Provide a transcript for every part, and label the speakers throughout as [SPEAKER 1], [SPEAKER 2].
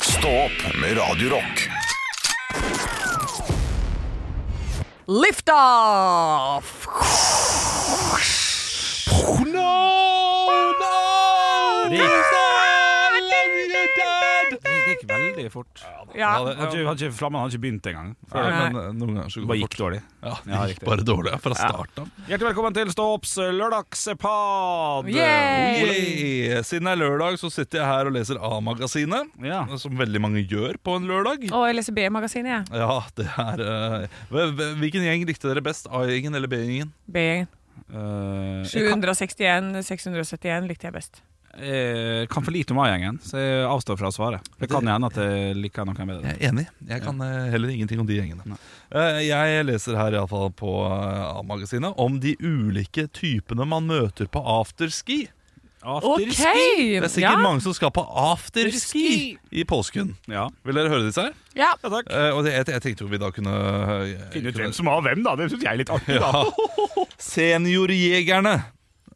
[SPEAKER 1] Stå opp med Radio Rock.
[SPEAKER 2] Lift off!
[SPEAKER 3] Det gikk veldig fort.
[SPEAKER 2] Ja.
[SPEAKER 3] Hadde, hadde, ikke- hadde ikke, flammen hadde ikke begynt engang. Det
[SPEAKER 2] Nei.
[SPEAKER 4] Men eh, noen ganger så
[SPEAKER 3] bare
[SPEAKER 4] går det
[SPEAKER 3] gikk
[SPEAKER 4] fort.
[SPEAKER 3] dårlig.
[SPEAKER 4] Ja, det
[SPEAKER 3] Ja,
[SPEAKER 4] gikk
[SPEAKER 3] riktig.
[SPEAKER 4] bare dårlig ja, fra starten av.
[SPEAKER 3] Hjertelig velkommen til Stå opps lørdagspad.
[SPEAKER 2] Yay!
[SPEAKER 4] Yay! Siden det er lørdag, så sitter jeg her og leser A-magasinet.
[SPEAKER 3] Ja.
[SPEAKER 4] Som veldig mange gjør på en lørdag.
[SPEAKER 2] Og jeg leser B-magasinet, jeg.
[SPEAKER 4] Ja, det er eh, hv- hv- Hvilken gjeng likte dere best? A-gjengen eller B-gjengen?
[SPEAKER 2] B.
[SPEAKER 3] Eh, jeg, kan,
[SPEAKER 2] 761, 671 likte jeg best.
[SPEAKER 3] jeg kan for lite om A-gjengen, så jeg avstår fra å svare. Det kan hende at jeg liker noen bedre.
[SPEAKER 4] Jeg er enig. Jeg kan eh, heller ingenting om de gjengene. Eh, Jeg leser her iallfall på eh, A-magasinet om de ulike typene man møter på afterski.
[SPEAKER 2] OK!
[SPEAKER 3] Afterski.
[SPEAKER 4] Det er
[SPEAKER 2] ja.
[SPEAKER 4] sikkert mange som skal på afterski i påsken.
[SPEAKER 3] Ja.
[SPEAKER 4] Vil dere høre disse her?
[SPEAKER 2] ja.
[SPEAKER 3] ja takk.
[SPEAKER 4] Eh, og det, jeg, jeg tenkte jo vi da kunne eh, kunne-
[SPEAKER 3] som har hvem, da. Det syns jeg er litt artig,
[SPEAKER 4] Ja. Seniorjegerne.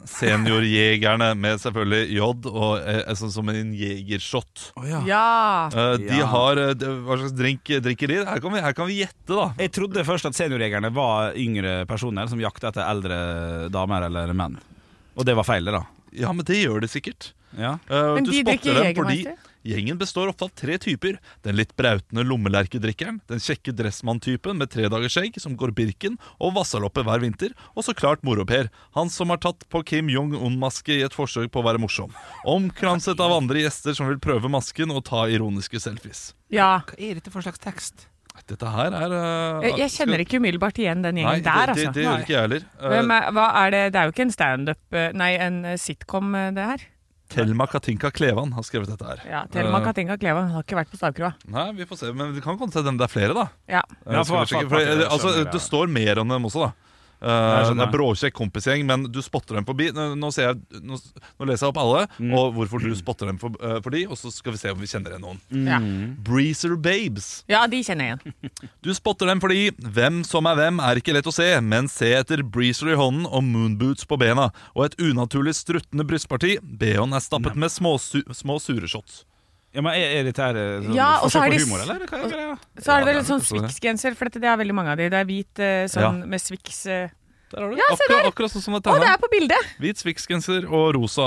[SPEAKER 4] Seniorjegerne med selvfølgelig J og eh, sånn som en jegershot.
[SPEAKER 2] ja.
[SPEAKER 4] Eh, de
[SPEAKER 3] Ja.
[SPEAKER 4] har eh, de, Hva slags drink eh, drikker de? Her kan vi, her kan vi gjette, da.
[SPEAKER 3] Jeg trodde først at seniorjegerne var yngre personer som jakta etter eldre damer eller menn. Og det var feil, det, da.
[SPEAKER 4] Ja, men det gjør de sikkert.
[SPEAKER 3] Ja.
[SPEAKER 4] Eh,
[SPEAKER 2] Men
[SPEAKER 4] du
[SPEAKER 2] de
[SPEAKER 4] spotter
[SPEAKER 2] drikker
[SPEAKER 4] dem fordi
[SPEAKER 2] Jegermeister?
[SPEAKER 4] Gjengen består ofte av tre typer. Den litt brautende lommelerkedrikkeren, den kjekke dressmann-typen med tredagersskjegg som går Birken og Vassaloppe hver vinter, og så klart Moro-Per, han som har tatt på Kim Jong-un-maske i et forsøk på å være morsom. Omkranset av andre gjester som vil prøve masken og ta ironiske selfies.
[SPEAKER 2] ja.
[SPEAKER 3] Hva er dette for slags tekst?
[SPEAKER 4] Dette her er eh,
[SPEAKER 2] Jeg, jeg kjenner ikke umiddelbart igjen den
[SPEAKER 4] Nei,
[SPEAKER 2] gjengen
[SPEAKER 4] det,
[SPEAKER 2] der,
[SPEAKER 4] det,
[SPEAKER 2] altså.
[SPEAKER 4] det gjør ikke jeg heller. Eh,
[SPEAKER 2] Hvem er, hva er det? det er jo ikke en standup eh, Nei, en eh, sitcom, eh, det her.
[SPEAKER 4] Thelma Katinka Klevan har skrevet dette her.
[SPEAKER 2] Ja, Thelma
[SPEAKER 4] Eh,
[SPEAKER 2] Katinka Klevan har ikke vært på stavkroa.
[SPEAKER 4] Nei, vi får se, men det kan komme til dem det er flere, da.
[SPEAKER 2] Ja.
[SPEAKER 3] Ja,
[SPEAKER 4] Skal
[SPEAKER 3] for-
[SPEAKER 4] vi sjekke,
[SPEAKER 3] for-
[SPEAKER 4] for,
[SPEAKER 3] for-
[SPEAKER 4] altså,
[SPEAKER 3] skjønner jeg.
[SPEAKER 4] det står mer om dem også, da. Eh,
[SPEAKER 3] jeg skjønner.
[SPEAKER 4] det er bråkjekk kompisgjeng, men du spotter dem forbi. Nå, nå, ser jeg, nå, nå leser jeg opp alle,
[SPEAKER 3] Mm.
[SPEAKER 4] og hvorfor du spotter dem for, eh, for de, og så skal vi se om vi kjenner igjen noen.
[SPEAKER 2] Ja.
[SPEAKER 3] Mm.
[SPEAKER 4] Breezer Babes.
[SPEAKER 2] ja, de kjenner jeg igjen.
[SPEAKER 4] Du spotter dem fordi hvem som er hvem er ikke lett å se, men se etter breezer i hånden og moonboots på bena, og et unaturlig struttende brystparti. BH-en er stappet med små, su små sure shots.
[SPEAKER 3] Ja, men Er, er dette her eh, sånn,
[SPEAKER 2] Ja, og så
[SPEAKER 3] forsøk
[SPEAKER 2] har
[SPEAKER 3] på
[SPEAKER 2] de s-
[SPEAKER 3] humor, eller? Hva er greia?
[SPEAKER 2] Så er det
[SPEAKER 4] Ja,
[SPEAKER 2] vel en
[SPEAKER 4] det er
[SPEAKER 2] sånn
[SPEAKER 4] nok også det.
[SPEAKER 2] Swix-genser, for dette, det er veldig mange av de. Det er hvit eh, sånn med Swix eh.
[SPEAKER 4] Der har du
[SPEAKER 2] Ja, se
[SPEAKER 4] akkurat,
[SPEAKER 2] der!
[SPEAKER 4] akkurat sånn som det
[SPEAKER 2] Å, det
[SPEAKER 4] tegna.
[SPEAKER 2] er på bildet!
[SPEAKER 4] Hvit Swix-genser og rosa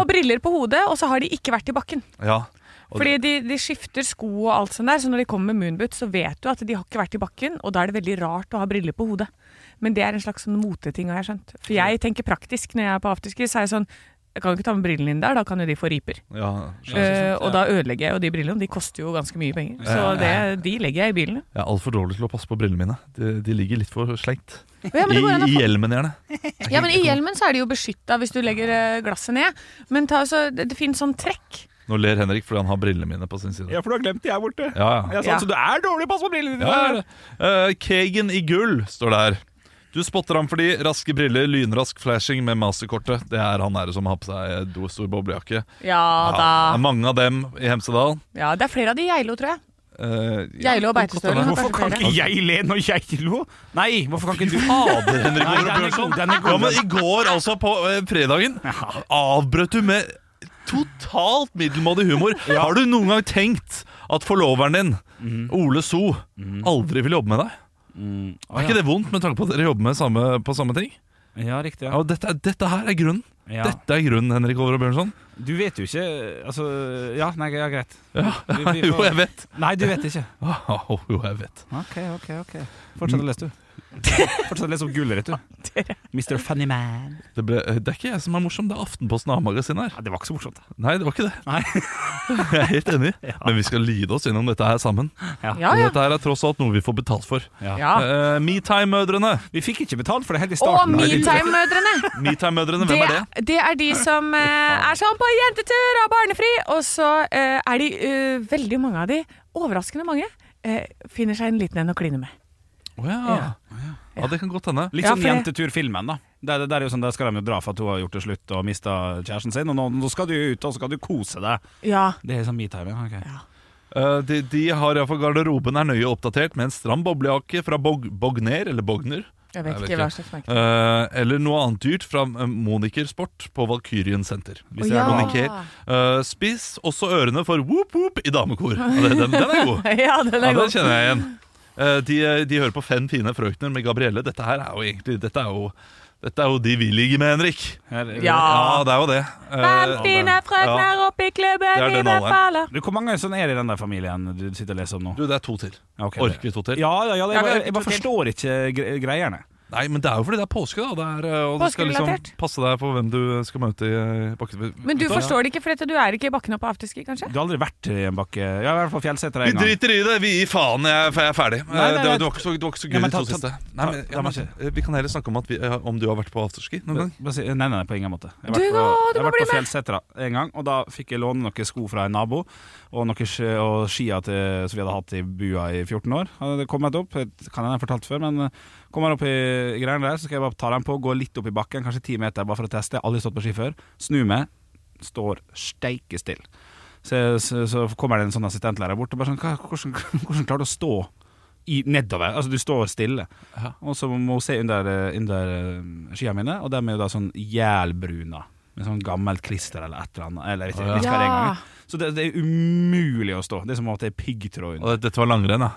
[SPEAKER 2] Og briller på hodet, og så har de ikke vært i bakken.
[SPEAKER 4] Ja. Og
[SPEAKER 2] Fordi de, de skifter sko og alt sånt der, så når de kommer med moonboots, så vet du at de har ikke vært i bakken, og da er det veldig rart å ha briller på hodet. Men det er en slags sånn moteting, har jeg skjønt. For jeg tenker praktisk når jeg er på afterski, så er jeg sånn jeg kan jo ikke ta med brillene inn der, da kan jo de få riper.
[SPEAKER 4] ja, skjønner.
[SPEAKER 2] Eh, og da ødelegger jeg jo de brillene, de koster jo ganske mye penger. Så det, de legger jeg i bilene.
[SPEAKER 4] Jeg er altfor dårlig til å passe på brillene mine. De, de ligger litt for slengt.
[SPEAKER 2] Ja,
[SPEAKER 4] I, I hjelmen, gjerne.
[SPEAKER 2] Ja, men I hjelmen så er de jo beskytta hvis du legger eh, glasset ned. Men ta, så, det, det finnes sånn trekk.
[SPEAKER 4] Nå ler Henrik fordi han har brillene mine på sin side.
[SPEAKER 3] Ja, for du har glemt de her borte.
[SPEAKER 4] Ja, ja.
[SPEAKER 3] Jeg sa,
[SPEAKER 2] Ja.
[SPEAKER 3] Så du er dårlig, pass på brillene dine!
[SPEAKER 4] ja, ja, ja. Eh, Kagan i gull står det her. Du spotter ham fordi raske briller, lynrask flashing med masterkortet. Det er han nære som har på seg do- stor boblejakke.
[SPEAKER 2] Ja
[SPEAKER 4] Ja,
[SPEAKER 2] da.
[SPEAKER 4] det er mange av dem i Hemsedal.
[SPEAKER 2] Ja, Det er flere av de i Geilo, tror jeg.
[SPEAKER 4] Uh,
[SPEAKER 2] Geilo og Beitostølen.
[SPEAKER 3] Sånn. Hvorfor kan ikke jeg le når jeg lo? Nei, hvorfor kan ikke du
[SPEAKER 4] Fader, Henrik
[SPEAKER 3] Nei,
[SPEAKER 4] Over
[SPEAKER 3] den er god,
[SPEAKER 4] Bjørnson.
[SPEAKER 3] den er god.
[SPEAKER 4] Ja, men I går, altså, på eh, fredagen, avbrøt du med totalt middelmådig humor. Har du noen gang tenkt at forloveren din,
[SPEAKER 3] Mm.
[SPEAKER 4] Ole So, aldri vil jobbe med deg? Er ikke det vondt med tanke på at dere jobber med samme, på samme ting?
[SPEAKER 3] Ja, riktig.
[SPEAKER 4] Ja, og dette, er- dette her er grunnen.
[SPEAKER 3] Ja.
[SPEAKER 4] Dette er grunnen, Henrik Over Bjørnson.
[SPEAKER 3] Du vet jo ikke Altså, ja, nei, ja, greit. Vi- vi
[SPEAKER 4] jo,
[SPEAKER 3] får-
[SPEAKER 4] jeg vet.
[SPEAKER 3] Nei, du vet ikke.
[SPEAKER 4] Au, jo, jeg vet.
[SPEAKER 3] Ok, ok, ok. Fortsett å
[SPEAKER 4] Mm.
[SPEAKER 3] lese, du. Fortsett å lese om gulrøtt, du. Mr. Funnyman.
[SPEAKER 4] Det, ble, eh, det er ikke jeg som er morsom, det er Aftenposten og A-magasinet her.
[SPEAKER 3] Ja, det var ikke så morsomt.
[SPEAKER 4] Nei, det var ikke det.
[SPEAKER 3] Nei.
[SPEAKER 4] Jeg er helt enig. Men vi skal lide oss gjennom dette her sammen.
[SPEAKER 2] Ja, ja.
[SPEAKER 4] Dette her er tross alt noe vi får betalt for.
[SPEAKER 2] ja.
[SPEAKER 4] Eh, MeTime-mødrene.
[SPEAKER 3] Vi fikk ikke betalt for det helt
[SPEAKER 2] Og
[SPEAKER 3] i starten.
[SPEAKER 2] metime-mødrene!
[SPEAKER 4] MeTime-mødrene,
[SPEAKER 2] Det,
[SPEAKER 4] hvem er det?
[SPEAKER 2] det er de som eh, er sånn på jentetur og barnefri, og så eh, er de eh, veldig mange av de, overraskende mange, eh, finner seg en liten en å kline med.
[SPEAKER 4] Å ja. ja, det kan godt hende.
[SPEAKER 3] Litt
[SPEAKER 2] Ja,
[SPEAKER 3] sånn
[SPEAKER 2] for det-
[SPEAKER 3] Jentetur-filmen, da. Der, der, er jo sånn, der skal de jo dra for at hun har gjort det slutt og mista kjæresten sin. Og nå, nå skal du jo ut og så skal du kose deg.
[SPEAKER 2] Ja.
[SPEAKER 3] Det er sånn metime. Okay.
[SPEAKER 4] Eh, de, de har iallfall garderoben er nøye oppdatert med en stram boblejakke fra Bog Bogner, eller Bogner.
[SPEAKER 2] Jeg vet
[SPEAKER 4] Jeg vet
[SPEAKER 2] ikke
[SPEAKER 4] ikke.
[SPEAKER 2] hva slags merke.
[SPEAKER 4] Eh, eller noe annet dyrt fra eh, Moniker Sport på Valkyrien senter.
[SPEAKER 2] Å,
[SPEAKER 4] Hvis det er
[SPEAKER 2] ja.
[SPEAKER 4] Moniker. Eh, spis også ørene for whoop whoop i damekor. Ja, det- den, den er god.
[SPEAKER 2] ja, den
[SPEAKER 4] Ja,
[SPEAKER 2] er
[SPEAKER 4] den
[SPEAKER 2] god.
[SPEAKER 4] kjenner jeg igjen. Eh, de, de hører på Fem fine frøkner med Gabrielle. Dette her er jo egentlig Dette er jo, dette er jo de vi ligger med, Henrik.
[SPEAKER 3] Her- eh,
[SPEAKER 2] Ja.
[SPEAKER 4] det er jo det.
[SPEAKER 2] Hvem
[SPEAKER 4] Eh,
[SPEAKER 2] fine frøkner oppi klubben
[SPEAKER 4] Det er
[SPEAKER 2] i
[SPEAKER 4] den alderen.
[SPEAKER 2] Befaler?
[SPEAKER 3] Du, Hvor mange sånn er det i den der familien du sitter og leser om nå?
[SPEAKER 4] du, det er to til.
[SPEAKER 3] Ja, ok,
[SPEAKER 4] Orker vi to til?
[SPEAKER 3] Ja, ja, ja jeg,
[SPEAKER 2] Ja, vi
[SPEAKER 3] bare,
[SPEAKER 2] orker
[SPEAKER 3] jeg bare
[SPEAKER 2] to til.
[SPEAKER 3] forstår ikke gre- greiene.
[SPEAKER 4] Nei, men det er jo fordi det er påske, da. Det er, eh, og du skal liksom
[SPEAKER 2] Påskerelatert.
[SPEAKER 4] passe deg på hvem du skal møte i eh, bakken.
[SPEAKER 2] Men du forstår det ikke, for dette, du er ikke i bakken oppe på afterski, kanskje?
[SPEAKER 3] Du har aldri vært i en bakke Jeg har vært på fjellseter
[SPEAKER 4] Vi
[SPEAKER 3] en gang.
[SPEAKER 4] driter i det! Vi gir faen, jeg, er- jeg er ferdig.
[SPEAKER 3] Nei,
[SPEAKER 4] Eh,
[SPEAKER 3] nei,
[SPEAKER 4] det, var-
[SPEAKER 3] nei.
[SPEAKER 4] det, var ikke så, det var ikke så gøy,
[SPEAKER 3] Ja, men
[SPEAKER 4] de to
[SPEAKER 3] ta- ta-
[SPEAKER 4] siste.
[SPEAKER 3] ta-
[SPEAKER 4] Nei, men,
[SPEAKER 3] la
[SPEAKER 4] ja,
[SPEAKER 3] meg
[SPEAKER 4] men, eh, vi kan heller snakke om, at vi, eh, om du har vært på afterski noen gang.
[SPEAKER 3] Bare si- Nei, nei, nei, på ingen måte. Jeg har
[SPEAKER 2] Du,
[SPEAKER 3] vært på,
[SPEAKER 2] å, du
[SPEAKER 3] jeg
[SPEAKER 2] må
[SPEAKER 3] har vært
[SPEAKER 2] bli
[SPEAKER 3] på Fjellsetra en gang, og da fikk jeg låne noen sko fra en nabo. Og noen ski- og skia til, som vi hadde hatt i bua i 14 år. Hadde kommet opp, det kan jeg ha fortalt før, men eh, kommer opp i greiene der, så skal jeg bare ta dem på, gå litt opp i bakken, kanskje 10 meter, bare for å teste. Jeg har Aldri stått på ski før. Snu meg, står steike stille. Så, så, så kommer det en sånn assistentlærer bort og bare sånn "Hva- hvordan, hvordan klarer du å stå i, nedover? Altså, du står stille.
[SPEAKER 4] Ja.
[SPEAKER 3] Og så må hun se under, eh, under eh, skia mine, og dem er jo da sånn jælbruna. Med sånn gammelt klister eller et eller annet. Eller, jeg vet, ikke- jeg vet ikke hva det er engang. Så det, det er umulig å stå. Det er som om at det er piggtråd under.
[SPEAKER 4] Og det, dette var langrenn, da.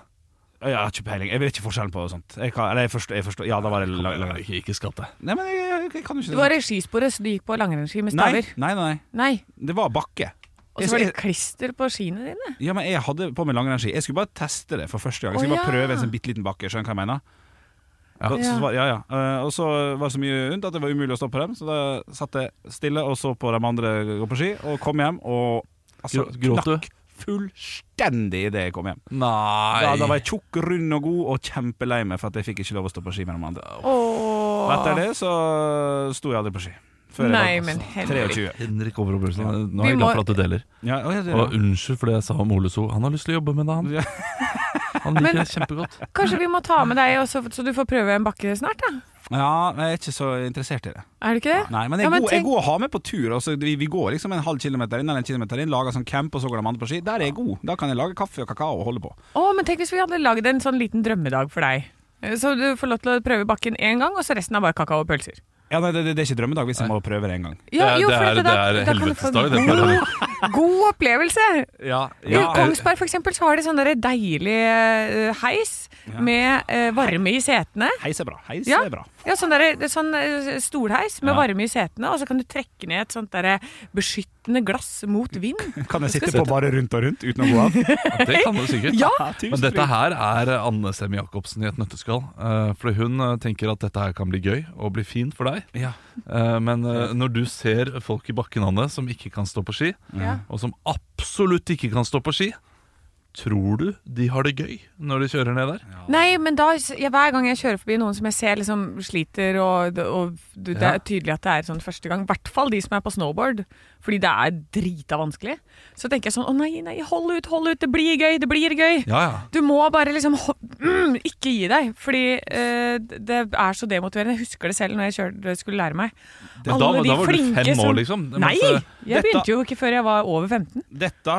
[SPEAKER 3] Jeg har ikke peiling. Jeg vet ikke forskjellen på sånt. Jeg kan, eller jeg forstår, jeg forstår. Ja, da var det lang, lang.
[SPEAKER 4] Ikke, ikke skatt deg.
[SPEAKER 3] Nei, men jeg, jeg, jeg kan jo
[SPEAKER 2] Du
[SPEAKER 3] ikke
[SPEAKER 2] var i skisporet, så du gikk på langrennsski med
[SPEAKER 3] Nei,
[SPEAKER 2] staver?
[SPEAKER 3] nei, nei.
[SPEAKER 2] Nei.
[SPEAKER 3] Det var bakke.
[SPEAKER 2] Og
[SPEAKER 3] Jeg
[SPEAKER 2] så var
[SPEAKER 3] skal-
[SPEAKER 2] det klister på skiene dine?
[SPEAKER 3] Ja, men jeg hadde på meg langrennsski. Jeg skulle bare teste det for første gang. Jeg
[SPEAKER 2] Å,
[SPEAKER 3] skulle bare
[SPEAKER 2] ja.
[SPEAKER 3] prøve en sånn bitte liten bakke. Skjønner du hva jeg mener?
[SPEAKER 4] Ja.
[SPEAKER 3] Da, så var, ja, ja. Eh, og så var det så mye vondt at det var umulig å stå på dem, så da satt jeg stille og så på de andre gå på ski, og kom hjem og altså,
[SPEAKER 4] Grå- gråt du?
[SPEAKER 3] knakk fullstendig idet jeg kom hjem.
[SPEAKER 4] Nei
[SPEAKER 3] Da, da var jeg tjukk, rund og god, og kjempelei meg for at jeg fikk ikke lov å stå på ski med de andre. Og
[SPEAKER 2] Åh.
[SPEAKER 3] etter det så sto jeg aldri på ski. Før jeg
[SPEAKER 2] Nei,
[SPEAKER 3] var altså,
[SPEAKER 2] men Henrik.
[SPEAKER 3] 23.
[SPEAKER 4] Henrik Overholt Børsen,
[SPEAKER 3] Ja.
[SPEAKER 4] nå er jeg
[SPEAKER 2] Vi
[SPEAKER 4] glad
[SPEAKER 2] må-
[SPEAKER 4] for at du deler.
[SPEAKER 3] Ja, å, ja, det,
[SPEAKER 4] Og unnskyld for det jeg sa om Ole So. Han har lyst til å jobbe med det, han.
[SPEAKER 3] Ja.
[SPEAKER 4] Han liker
[SPEAKER 2] Men-
[SPEAKER 4] det kjempegodt.
[SPEAKER 2] Kanskje vi må ta med deg, også, så du får prøve en bakke snart? da?
[SPEAKER 3] ja, jeg er ikke så interessert i det.
[SPEAKER 2] Er du ikke det?
[SPEAKER 3] Nei, men jeg
[SPEAKER 2] Ja,
[SPEAKER 3] er
[SPEAKER 2] men
[SPEAKER 3] god- jeg er
[SPEAKER 2] tenk-
[SPEAKER 3] god å ha med på tur. Altså, vi, vi går liksom en halv kilometer inn eller en kilometer inn, lager sånn camp, og så går de andre på ski. Der er jeg god. Da kan jeg lage kaffe og kakao og holde på.
[SPEAKER 2] Å, men tenk hvis vi hadde lagd en sånn liten drømmedag for deg. Eh, Så du får lov til å prøve bakken én gang, og så resten er bare kakao og pølser.
[SPEAKER 3] Ja, nei, det, det er ikke drømmedag hvis jeg må prøve det en gang.
[SPEAKER 4] Det er- det
[SPEAKER 2] for
[SPEAKER 4] er-
[SPEAKER 2] da-
[SPEAKER 4] det
[SPEAKER 2] da kan
[SPEAKER 4] er
[SPEAKER 2] du få
[SPEAKER 4] helvetesdag, det er
[SPEAKER 2] God, god opplevelse!
[SPEAKER 3] Ja,
[SPEAKER 2] I Kongsberg for eksempel, så har de sånn der deilig eh, heis med eh, varme i setene.
[SPEAKER 3] Heis er bra. Heis
[SPEAKER 2] Ja.
[SPEAKER 3] er bra.
[SPEAKER 2] Ja, sånn, der, det er sånn eh, stolheis med
[SPEAKER 3] Ja.
[SPEAKER 2] varme i setene, og så kan du trekke ned et sånt der eh, beskyttende glass mot
[SPEAKER 4] Mm.
[SPEAKER 2] vind.
[SPEAKER 3] Kan jeg sitte på bare rundt og rundt uten å gå av?
[SPEAKER 4] Ja, det kan du sikkert.
[SPEAKER 2] Ja!
[SPEAKER 4] Men dette her er Anne Semi Jacobsen i et nøtteskall. Eh, For hun eh, tenker at dette her kan bli gøy og bli fint for deg.
[SPEAKER 3] Ja.
[SPEAKER 4] Eh, Men eh, når du ser folk i bakken, Anne, som ikke kan stå på ski,
[SPEAKER 2] Ja.
[SPEAKER 4] og som absolutt ikke kan stå på ski, tror du de har det gøy når de kjører ned der?
[SPEAKER 2] Nei, men da, ja, hver gang jeg kjører forbi noen som jeg ser liksom sliter, og, og du, det
[SPEAKER 4] Ja.
[SPEAKER 2] er tydelig at det er sånn første gang, i hvert fall de som er på snowboard, fordi det er drita vanskelig, så tenker jeg sånn, å nei, nei, hold ut, hold ut, det blir gøy, det blir gøy.
[SPEAKER 4] Ja, ja.
[SPEAKER 2] Du må bare liksom ho- mm, ikke gi deg, fordi eh, det er så demotiverende. Jeg husker det selv når jeg kjørte, skulle lære meg.
[SPEAKER 4] Da, da var du fem år, liksom. Det
[SPEAKER 2] Nei!
[SPEAKER 4] måtte-
[SPEAKER 2] Jeg
[SPEAKER 3] Dette-
[SPEAKER 2] begynte jo ikke før jeg var over 15.
[SPEAKER 3] Dette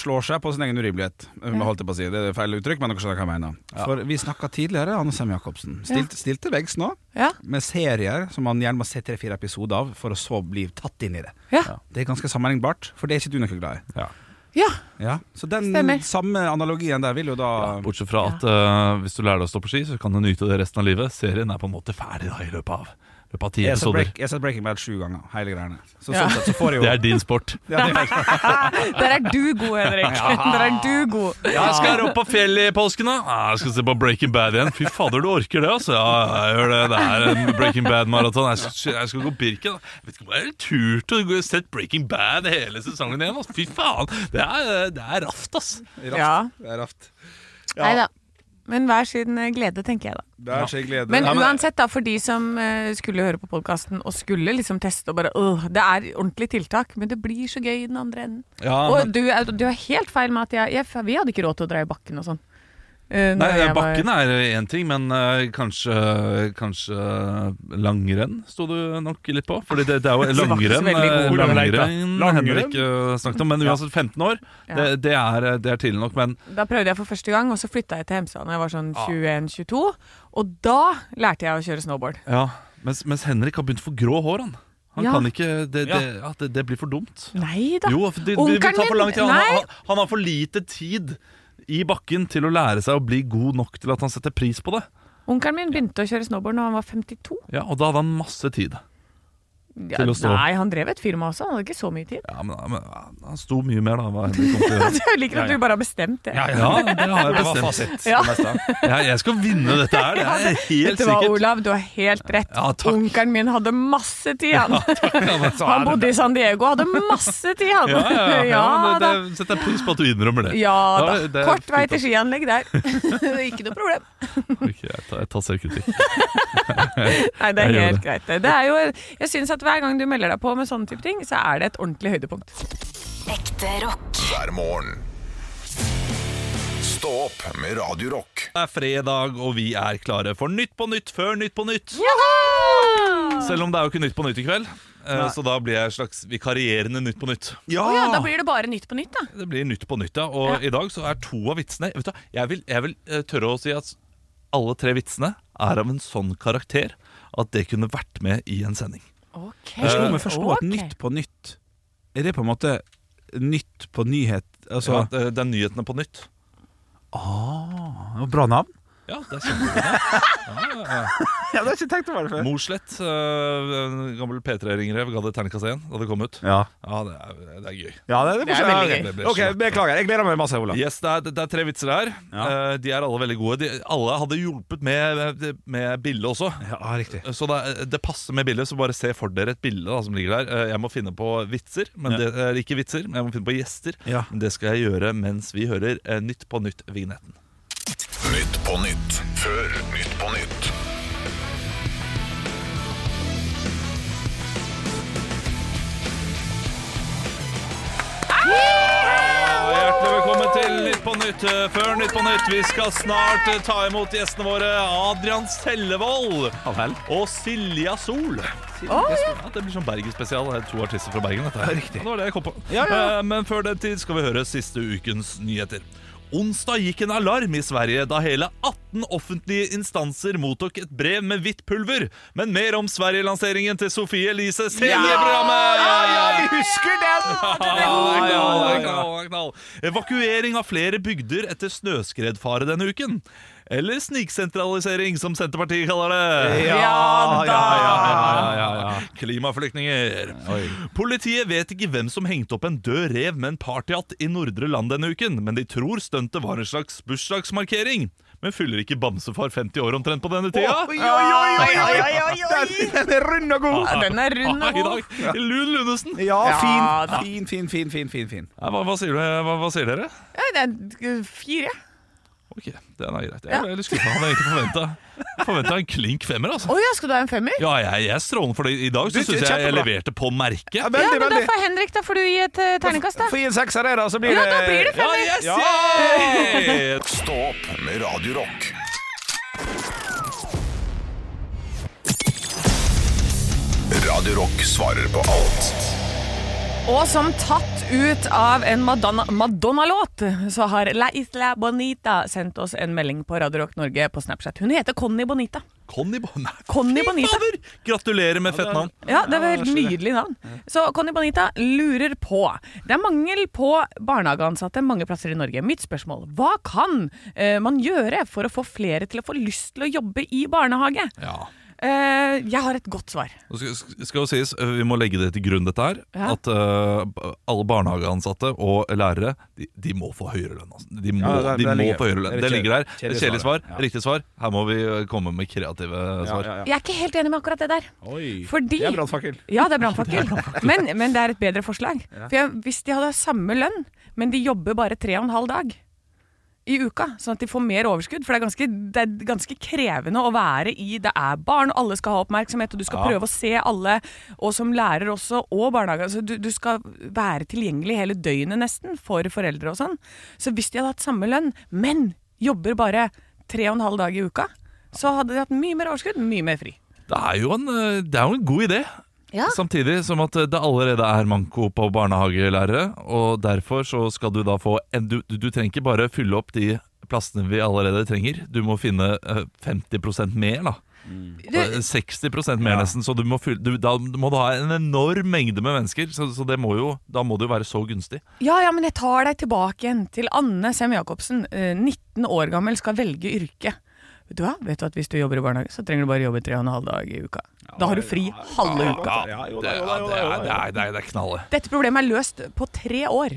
[SPEAKER 3] slår seg på sin egen urimelighet. Jeg Holdt jeg på å si. Det er feil uttrykk, men dere skjønner hva jeg mener. For vi snakka tidligere, Anne Sem Jacobsen. Stilt, Stilt til veggs nå,
[SPEAKER 2] Ja,
[SPEAKER 3] med serier som man gjerne må se tre-fire episoder av, for å så bli tatt inn i det.
[SPEAKER 2] ja,
[SPEAKER 3] Det er ganske sammenlignbart, for det er ikke du noe glad i.
[SPEAKER 4] Ja.
[SPEAKER 2] ja.
[SPEAKER 3] Ja, Så den
[SPEAKER 2] Stemmer.
[SPEAKER 3] samme analogien der vil jo da
[SPEAKER 4] Ja, bortsett fra at eh, hvis du lærer deg å stå på ski, så kan du nyte det resten av livet. Serien er på en måte ferdig da, i løpet av, løpet av ti
[SPEAKER 3] Jeg har sett
[SPEAKER 4] episoder.
[SPEAKER 3] Break- jeg har sett Breaking Bad sju ganger, hele greiene. Så
[SPEAKER 2] Ja.
[SPEAKER 3] sånn sett så får jeg jo
[SPEAKER 4] Det er din sport.
[SPEAKER 3] Ja, det er faktisk-
[SPEAKER 2] Der er du god, Henrik. Der er du god.
[SPEAKER 4] Ja, skal dere opp på fjellet i påsken, da? Ja, jeg skal se på Breaking Bad igjen. Fy fader, du orker det, altså. Ja, jeg gjør det. Det er en Breaking Bad-maraton. Jeg, skal- jeg skal gå Birken. da. Jeg vet ikke om jeg har tur til å gå- sett Breaking Bad hele sesongen igjen. Altså. Fy faen. Det er, det er raft, ass.
[SPEAKER 3] Raft.
[SPEAKER 2] Ja.
[SPEAKER 3] Det er raft. Ja,
[SPEAKER 2] Nei da. Men hver sin eh, glede, tenker jeg da.
[SPEAKER 3] Det er skjegg glede.
[SPEAKER 2] Men
[SPEAKER 3] Ja,
[SPEAKER 2] uansett, da, for de som eh, skulle høre på podkasten og skulle liksom teste og bare «Åh, Det er ordentlig tiltak, men det blir så gøy i den andre enden.
[SPEAKER 4] Ja,
[SPEAKER 2] Og du, er- du har helt feil med at jeg, jeg Vi hadde ikke råd til å dra i bakken og sånn. eh, når
[SPEAKER 4] Nei,
[SPEAKER 2] jeg var-
[SPEAKER 4] bakken er én ting, men eh, kanskje, kanskje langrenn sto du nok litt på. Fordi det, det er jo
[SPEAKER 2] så
[SPEAKER 4] langrenn,
[SPEAKER 2] veldig
[SPEAKER 4] eh,
[SPEAKER 3] god. Langrenn, da.
[SPEAKER 4] langrenn
[SPEAKER 3] Langrenn?
[SPEAKER 4] Henrik eh, snakket om, men uansett 15 år,
[SPEAKER 2] Ja.
[SPEAKER 4] det, det, er, det er tidlig nok. Men
[SPEAKER 2] Da prøvde jeg for første gang, og så flytta jeg til Hemsedal da jeg var sånn 21-22. Og da lærte jeg å kjøre snowboard.
[SPEAKER 4] Ja, mens, mens Henrik har begynt å få grå hår, han. Han
[SPEAKER 2] Ja.
[SPEAKER 4] kan ikke, det, det,
[SPEAKER 3] Ja.
[SPEAKER 4] ja, det, det blir for dumt.
[SPEAKER 2] Nei da.
[SPEAKER 4] Jo, for det, det vil ta
[SPEAKER 2] Onkelen
[SPEAKER 4] for lang tid.
[SPEAKER 2] min-
[SPEAKER 4] Han, har-
[SPEAKER 2] nei.
[SPEAKER 4] han, han har for lite tid i bakken til å lære seg å bli god nok til at han setter pris på det.
[SPEAKER 2] Onkelen min begynte å kjøre snowboard når han var 52.
[SPEAKER 4] Ja, Og da hadde han masse tid.
[SPEAKER 2] Ja,
[SPEAKER 4] Til å stå.
[SPEAKER 2] Nei, han drev et firma også. Han hadde ikke så mye tid. Altså,
[SPEAKER 4] Ja, men, men Han sto mye mer da. Hva Henrik kom til å gjøre.
[SPEAKER 2] Jeg liker at
[SPEAKER 3] Ja, ja.
[SPEAKER 2] du bare har bestemt det.
[SPEAKER 3] Ja,
[SPEAKER 4] Ja, det har jeg
[SPEAKER 3] Det var
[SPEAKER 4] bestemt.
[SPEAKER 3] fasit.
[SPEAKER 2] Ja.
[SPEAKER 3] det meste.
[SPEAKER 4] Jeg, jeg skal vinne dette her, det er helt
[SPEAKER 2] Vet du hva,
[SPEAKER 4] sikkert.
[SPEAKER 2] Olav, du har helt rett.
[SPEAKER 4] Ja, takk.
[SPEAKER 2] Onkelen min hadde masse tid, han.
[SPEAKER 3] Ja, men så
[SPEAKER 2] Han
[SPEAKER 3] er
[SPEAKER 2] bodde
[SPEAKER 3] det-
[SPEAKER 2] i San Diego, hadde masse tid, han.
[SPEAKER 4] Ja, ja, ja,
[SPEAKER 2] Ja
[SPEAKER 4] det,
[SPEAKER 2] da.
[SPEAKER 4] det setter jeg pris på at du innrømmer det.
[SPEAKER 2] Ja da.
[SPEAKER 4] Ja, det er
[SPEAKER 2] Kort vei
[SPEAKER 4] fint,
[SPEAKER 2] til
[SPEAKER 4] altså.
[SPEAKER 2] skianlegg der. Ikke noe problem.
[SPEAKER 4] Ok, jeg tar, jeg tar selvkritikk.
[SPEAKER 2] Nei, det
[SPEAKER 4] Jeg
[SPEAKER 2] er
[SPEAKER 4] gjør
[SPEAKER 2] helt greit. det. Det er jo, jeg syns at hver gang du melder deg på med sånne type ting, så er det et ordentlig høydepunkt.
[SPEAKER 5] Ekte rock.
[SPEAKER 1] hver morgen. Stå opp med Radio Rock.
[SPEAKER 4] Det er fredag, og vi er klare for Nytt på nytt før Nytt på nytt. Selv om det er jo ikke Nytt på nytt i kveld, eh, så da blir jeg et slags vikarierende Nytt på nytt.
[SPEAKER 2] Å ja, da blir det bare Nytt på nytt, da.
[SPEAKER 4] Det blir Nytt på nytt, ja. Og i dag så er to av vitsene vet du, hva, jeg, vil, jeg vil eh, tørre å si at alle tre vitsene er av en sånn karakter at det kunne vært med i en sending.
[SPEAKER 2] Ok.
[SPEAKER 3] Jeg slo meg først nå at
[SPEAKER 2] Ok.
[SPEAKER 3] Nytt på nytt Er det på en måte nytt på nyhet?
[SPEAKER 4] Så
[SPEAKER 3] Altså,
[SPEAKER 4] at, eh, det er nyhetene på nytt.
[SPEAKER 3] det var Bra navn.
[SPEAKER 4] Ja, det er kjempebra.
[SPEAKER 3] Jeg hadde ikke tenkt over det
[SPEAKER 4] Morslett, eh, en gammel P3-ringrev, ga det terningkast én da det kom ut.
[SPEAKER 3] Ja,
[SPEAKER 4] Ja, det er, det er gøy.
[SPEAKER 3] ja det, det,
[SPEAKER 2] Det er veldig
[SPEAKER 3] ja,
[SPEAKER 4] gøy.
[SPEAKER 3] ok. Ok, Beklager. Jeg gleder meg masse, Olav.
[SPEAKER 4] Yes, det er, det er tre vitser her.
[SPEAKER 3] Ja.
[SPEAKER 4] Eh, De er alle veldig gode. De, alle hadde hjulpet med, med bildet også.
[SPEAKER 3] Ja, riktig.
[SPEAKER 4] Så det, er- det passer med bildet, så bare se for dere et bilde da, som ligger der. Eh, Jeg må finne på vitser, men
[SPEAKER 3] Ja.
[SPEAKER 4] det, eh, ikke vitser, men jeg må finne på gjester.
[SPEAKER 3] Ja.
[SPEAKER 4] Men Det skal jeg gjøre mens vi hører eh, Nytt på nytt-vignetten.
[SPEAKER 1] Nytt på nytt før Nytt på nytt.
[SPEAKER 4] Hjertelig velkommen til Nytt på nytt eh, før Nytt på nytt. Vi skal snart eh, ta imot gjestene våre Adrian Sellevold og Silja Sol. ja. Det blir sånn Bergen-spesial. Det er To artister fra Bergen. Dette. her. Ja, Det var det jeg kom på. Eh, Men før den tid skal vi høre siste ukens nyheter. Onsdag gikk en alarm i Sverige da hele 18 offentlige instanser mottok et brev med hvitt pulver. Men mer om Sverige-lanseringen til Sofie Elise senere i programmet!
[SPEAKER 3] husker den!
[SPEAKER 4] Ja, ja, det er knall, det er knall. Evakuering av flere bygder etter snøskredfare denne uken. Eller sniksentralisering, som Senterpartiet kaller det.
[SPEAKER 3] Ja, ja, ja, ja, ja, ja.
[SPEAKER 4] Klimaflyktninger. Politiet vet ikke hvem som hengte opp en død rev med en partyhatt i Nordre Land denne uken, men de tror stuntet var en slags bursdagsmarkering. Men fyller ikke bamsefar 50 år omtrent på denne tida?
[SPEAKER 3] Oi, oi, oi, oi, oi, oi, oi. Den er rund og god.
[SPEAKER 2] Ja, den er rund og
[SPEAKER 4] I
[SPEAKER 2] god.
[SPEAKER 4] dag. Lun Lunesen.
[SPEAKER 3] Ja,
[SPEAKER 2] Ja, da.
[SPEAKER 3] fin, fin, fin, fin, fin, fin.
[SPEAKER 4] Ja, Hva, hva, sier, du, hva, hva sier dere?
[SPEAKER 2] Ja, det er uh, fire.
[SPEAKER 4] Ok, den er greit. Jeg ble litt skuffa. Hadde egentlig forventa forventet en klink femmer. altså
[SPEAKER 2] Å ja, skal du ha en femmer?
[SPEAKER 4] Ja, jeg, jeg er strålende for det. I dag
[SPEAKER 3] Du,
[SPEAKER 4] så syns jeg jeg
[SPEAKER 3] kjempebra.
[SPEAKER 4] leverte på merket. Ja,
[SPEAKER 2] Ja,
[SPEAKER 3] Veldig,
[SPEAKER 2] men da
[SPEAKER 3] veldig.
[SPEAKER 2] får Henrik da får du gi et eh, terningkast, da.
[SPEAKER 3] Få gi en sekser her, da, så blir
[SPEAKER 2] Ja,
[SPEAKER 3] det
[SPEAKER 2] da blir det femmer.
[SPEAKER 4] yes,
[SPEAKER 3] Ja.
[SPEAKER 4] yay!
[SPEAKER 1] Stå opp med Radio Rock. Radio Rock svarer på alt
[SPEAKER 2] Og som tatt ut av en Madonna- Madonna-låt, så har La Isla Bonita sendt oss en melding på Radio Rock Norge på Snapchat. Hun heter Conny Bonita.
[SPEAKER 4] Conny Bonita.
[SPEAKER 2] Conny Bonita.
[SPEAKER 4] Gratulerer med fett navn.
[SPEAKER 2] Ja, det var helt nydelig navn. Så Conny Bonita lurer på. Det er mangel på barnehageansatte mange plasser i Norge. Mitt spørsmål hva kan eh, man gjøre for å få flere til å få lyst til å jobbe i barnehage?
[SPEAKER 4] Ja.
[SPEAKER 2] Eh, jeg har et godt svar.
[SPEAKER 4] Nå Skal, skal jo sies, ø, Vi må legge det til grunn, dette her.
[SPEAKER 2] Ja.
[SPEAKER 4] At ø, b- alle barnehageansatte og lærere de, de må få høyere lønn. Altså. De må,
[SPEAKER 3] Ja, det-
[SPEAKER 4] de
[SPEAKER 3] det
[SPEAKER 4] må
[SPEAKER 3] ligger-
[SPEAKER 4] få høyere lønn.
[SPEAKER 3] det
[SPEAKER 4] Det
[SPEAKER 3] er
[SPEAKER 4] ligger der.
[SPEAKER 3] kjedelig- kjedelig
[SPEAKER 4] Kjedelig
[SPEAKER 3] svar,
[SPEAKER 4] svar.
[SPEAKER 3] ja.
[SPEAKER 4] Riktig svar. Her må vi ø, komme med kreative svar.
[SPEAKER 3] Ja, ja, ja.
[SPEAKER 2] Jeg er ikke helt enig med akkurat det der.
[SPEAKER 3] Oi.
[SPEAKER 2] Fordi
[SPEAKER 3] Det er brannfakkel.
[SPEAKER 2] Ja, det er brannfakkel. Men, men det er et bedre forslag. For jeg, Hvis de hadde samme lønn, men de jobber bare tre og en halv dag i uka, sånn at de får mer overskudd. For det er ganske, det er ganske krevende å være i Det er barn, og alle skal ha oppmerksomhet, og du skal prøve å se alle. Og som lærer også, og barnehage. Altså, du, du skal være tilgjengelig hele døgnet nesten for foreldre og sånn. Så hvis de hadde hatt samme lønn, men jobber bare tre og en halv dag i uka, så hadde de hatt mye mer overskudd, mye mer fri.
[SPEAKER 4] Det er jo en, eh, det er jo en god idé.
[SPEAKER 2] Ja.
[SPEAKER 4] Samtidig som at eh, det allerede er manko på barnehagelærere, og derfor så skal du da få en, du, du trenger ikke bare fylle opp de plassene vi allerede trenger. Du må finne eh, 50 mer, da. Eh, 60 mer,
[SPEAKER 3] Ja.
[SPEAKER 4] nesten. Så du må fylle, du, da må du ha en enorm mengde med mennesker. Så, så det må jo, da må det jo være så gunstig.
[SPEAKER 2] Ja, ja, men jeg tar deg tilbake igjen til Anne Sem-Jacobsen, eh, 19 år gammel, skal velge yrke. Vet du hva? Vet du at hvis du jobber i barnehage, så trenger du bare jobbe tre og en halv dag i uka. Da har du fri halve uka.
[SPEAKER 3] Ja, jo
[SPEAKER 4] det,
[SPEAKER 3] da, jo
[SPEAKER 4] det,
[SPEAKER 3] da, jo da, jo da,
[SPEAKER 4] er,
[SPEAKER 3] jo
[SPEAKER 4] det,
[SPEAKER 3] da.
[SPEAKER 4] er, det, er, det er knallet.
[SPEAKER 2] Dette problemet er løst på tre år,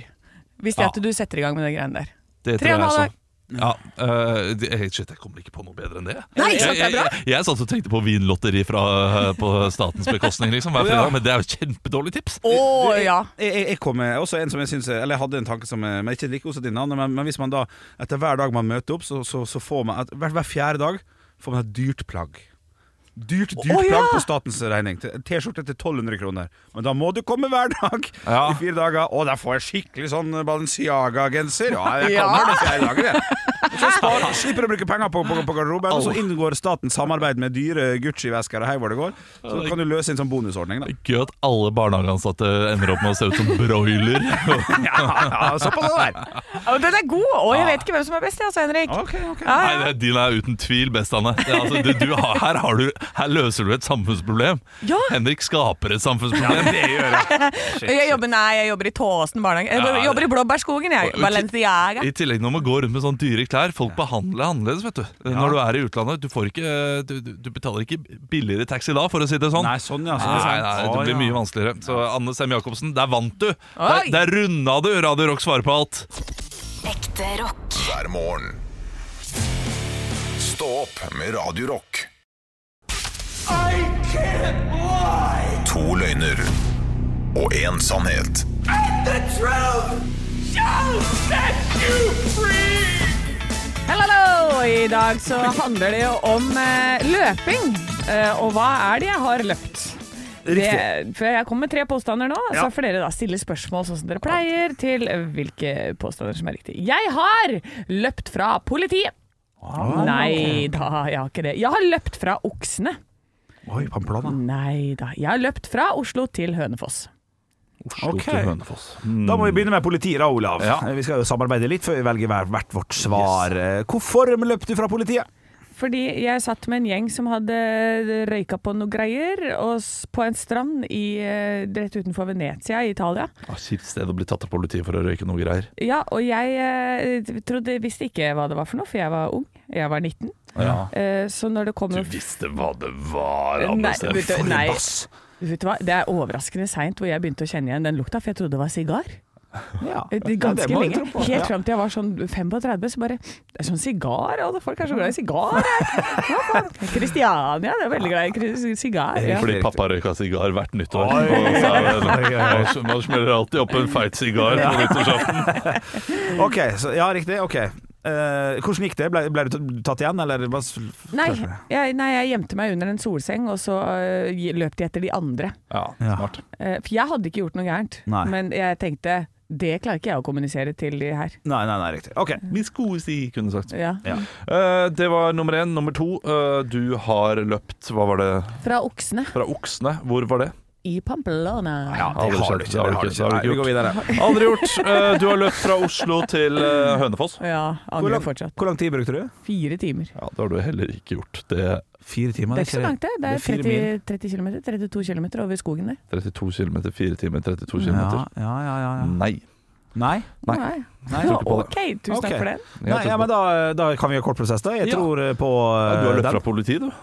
[SPEAKER 2] hvis det
[SPEAKER 4] Ja.
[SPEAKER 2] er at du setter i gang med de greiene der. Tre og en
[SPEAKER 4] Det tror jeg
[SPEAKER 2] halv
[SPEAKER 4] også. Ja, eh, det- eh, shit, jeg kommer ikke på noe bedre enn det.
[SPEAKER 2] Nei, ikke sant,
[SPEAKER 4] jeg,
[SPEAKER 2] det er
[SPEAKER 4] jeg,
[SPEAKER 2] bra.
[SPEAKER 4] jeg, jeg satt og tenkte på vinlotteri fra, eh, på statens bekostning liksom, hver
[SPEAKER 3] Å, ja.
[SPEAKER 4] fredag, men det er jo kjempedårlig tips.
[SPEAKER 2] Å
[SPEAKER 3] Du,
[SPEAKER 2] ja.
[SPEAKER 3] Jeg, jeg, jeg kom med også en som jeg synes, Eller jeg hadde en tanke som eh, Men ikke like god som din Anne, men, men hvis man da Etter hver dag man møter opp Så, så, så får man et, hver, hver fjerde dag Får man et dyrt plagg Dyrt, dyrt
[SPEAKER 2] Å, ja!
[SPEAKER 3] plagg på statens regning T- T-skjorte til 1200 kroner Men da må du komme hver dag
[SPEAKER 4] Ja.
[SPEAKER 3] I fire dager Og da får jeg skikkelig sånn Balenciaga-genser Ja, jeg
[SPEAKER 2] Ja.
[SPEAKER 3] kommer den fjerde dagen jeg. Så spar, slipper å bruke penger på, på, på garderoben Og så inngår statens samarbeid med dyre Gucci-vesker Og hei hvor det går Så kan du løse en sånn bonusordning da
[SPEAKER 4] Gøy at alle barnehageansatte ender opp med å se ut som broiler.
[SPEAKER 3] Ja, ja, såpass det der
[SPEAKER 2] ja men den er god, og jeg vet ikke hvem som er best, jeg, altså, Henrik.
[SPEAKER 3] Ok, ok
[SPEAKER 2] Ja, ja.
[SPEAKER 4] Nei, det- Din er uten tvil best, Anne. Det, er altså, du, du, har, her, har du, her løser du et samfunnsproblem.
[SPEAKER 2] Ja.
[SPEAKER 4] Henrik skaper et samfunnsproblem.
[SPEAKER 3] Det gjør jeg.
[SPEAKER 2] Jeg jobber, nei, jeg jobber i Tåsen barnehage. Jeg
[SPEAKER 4] Ja,
[SPEAKER 2] jobber i Blåbærskogen, jeg.
[SPEAKER 4] Og-
[SPEAKER 2] Balenciaga.
[SPEAKER 4] I tillegg når man går rundt med sånn dyre klær Folk behandler deg annerledes, vet du. Når du er i utlandet, du, får ikke, du, du- du betaler ikke billigere taxi da, for å si det sånn.
[SPEAKER 3] Nei, sånn ja. Sånn,
[SPEAKER 4] Nei, nei, det blir mye vanskeligere. Så Anne Sem Jacobsen, der vant du! Der,
[SPEAKER 2] Oi!
[SPEAKER 4] der runda du Radio Rock svarer på alt.
[SPEAKER 5] Ekte rock.
[SPEAKER 1] hver morgen. Stå opp med Radio Rock. To løgner og én sannhet.
[SPEAKER 2] Hello, hello! I dag så handler det jo om eh, løping. Eh, og hva er det jeg har løpt? Det, for jeg kom med tre påstander nå, så får dere da stille spørsmål sånn som dere pleier til hvilke påstander som er riktige. Jeg har løpt fra politiet. Nei da, jeg har ikke det. Jeg har løpt fra oksene.
[SPEAKER 3] Oi, Pamplona.
[SPEAKER 2] Nei da. Jeg har løpt fra Oslo til Hønefoss.
[SPEAKER 3] Ok. Da må vi begynne med politiet, da, Olav.
[SPEAKER 4] Mm. Ja.
[SPEAKER 3] Vi skal jo samarbeide litt før vi velger hver- hvert vårt svar. Eh, Hvorfor løp du fra politiet?
[SPEAKER 2] Fordi jeg satt med en gjeng som hadde eh, røyka på noe greier og s- på en strand i, eh, rett utenfor Venezia i Italia.
[SPEAKER 4] Kjipt sted å bli tatt av politiet for å røyke noe greier.
[SPEAKER 2] Ja, og jeg eh, trodde, visste ikke hva det var for noe, for jeg var ung. Jeg var 19. Eh, så når det kom
[SPEAKER 4] Du
[SPEAKER 2] noe
[SPEAKER 4] visste hva det var,
[SPEAKER 2] Nei,
[SPEAKER 4] Anne Sem.
[SPEAKER 2] vet du, nei, vet du hva? Det er overraskende seint hvor jeg begynte å kjenne igjen den lukta, for jeg trodde det var sigar.
[SPEAKER 3] Ja.
[SPEAKER 2] Eh, det- Ganske lenge. Helt fram til jeg var sånn 35, så bare Det er sånn sigar, og folk er så glad i sigar her. Ja, faen. Kristiania, det er veldig glad i kri- sigar. Ja.
[SPEAKER 4] Fordi pappa røyka sigar hvert nyttår. Og så er det- sånn, Man man smeller alltid opp en feit sigar på nyttårsaften.
[SPEAKER 3] Ok, så, ja, riktig. Ok. Eh, hvordan gikk det? Ble, ble du t- tatt igjen, eller? hva s-
[SPEAKER 2] Nei
[SPEAKER 3] klarte du det?
[SPEAKER 2] jeg, nei, jeg gjemte meg under en solseng, og så øh, gi- løp de etter de andre.
[SPEAKER 4] Ja,
[SPEAKER 3] Ja.
[SPEAKER 4] smart.
[SPEAKER 2] Eh, for jeg hadde ikke gjort noe gærent,
[SPEAKER 3] Nei.
[SPEAKER 2] men jeg tenkte det klarer ikke jeg å kommunisere til de her.
[SPEAKER 3] Nei, nei, nei, riktig. Ok.
[SPEAKER 4] Miss Kosi, kunne sagt.
[SPEAKER 2] Ja.
[SPEAKER 3] Ja.
[SPEAKER 4] Eh, det var nummer én. Nummer to, eh, du har løpt Hva var det?
[SPEAKER 2] Fra oksene
[SPEAKER 4] Fra Oksene. Hvor var det?
[SPEAKER 2] i Pamplona.
[SPEAKER 3] Ja,
[SPEAKER 4] Aldri skjedd, det har du ikke, det har du
[SPEAKER 3] Nei,
[SPEAKER 4] ikke
[SPEAKER 3] vi går videre.
[SPEAKER 4] Aldri gjort. Eh, du har løpt fra Oslo til eh, Hønefoss.
[SPEAKER 2] Ja,
[SPEAKER 3] Hvor
[SPEAKER 2] angrer
[SPEAKER 3] lang,
[SPEAKER 2] fortsatt.
[SPEAKER 3] hvor lang tid brukte du?
[SPEAKER 2] Fire timer.
[SPEAKER 4] Ja, Det har du heller ikke gjort. Det er
[SPEAKER 3] Fire timer.
[SPEAKER 2] Det er ikke så langt, det. Det
[SPEAKER 3] det er
[SPEAKER 2] er
[SPEAKER 3] fire
[SPEAKER 2] 30, 30 km, 32 km over skogen der.
[SPEAKER 4] 32 km, 4 timer, 32 km.
[SPEAKER 3] Ja, ja, ja, ja, ja.
[SPEAKER 4] Nei.
[SPEAKER 3] Mm. Nei?
[SPEAKER 4] Nei.
[SPEAKER 3] Nei.
[SPEAKER 2] Ja,
[SPEAKER 4] tror ikke på det.
[SPEAKER 2] OK, tusen takk
[SPEAKER 3] Ok.
[SPEAKER 2] for den.
[SPEAKER 4] Jeg
[SPEAKER 3] Nei,
[SPEAKER 4] tror på-
[SPEAKER 3] ja, men da, da kan vi gjøre kort prosess, da. Jeg
[SPEAKER 4] Ja.
[SPEAKER 3] tror eh, på
[SPEAKER 4] Ja,
[SPEAKER 3] eh,
[SPEAKER 4] du har løpt
[SPEAKER 3] den.
[SPEAKER 4] fra politiet, du.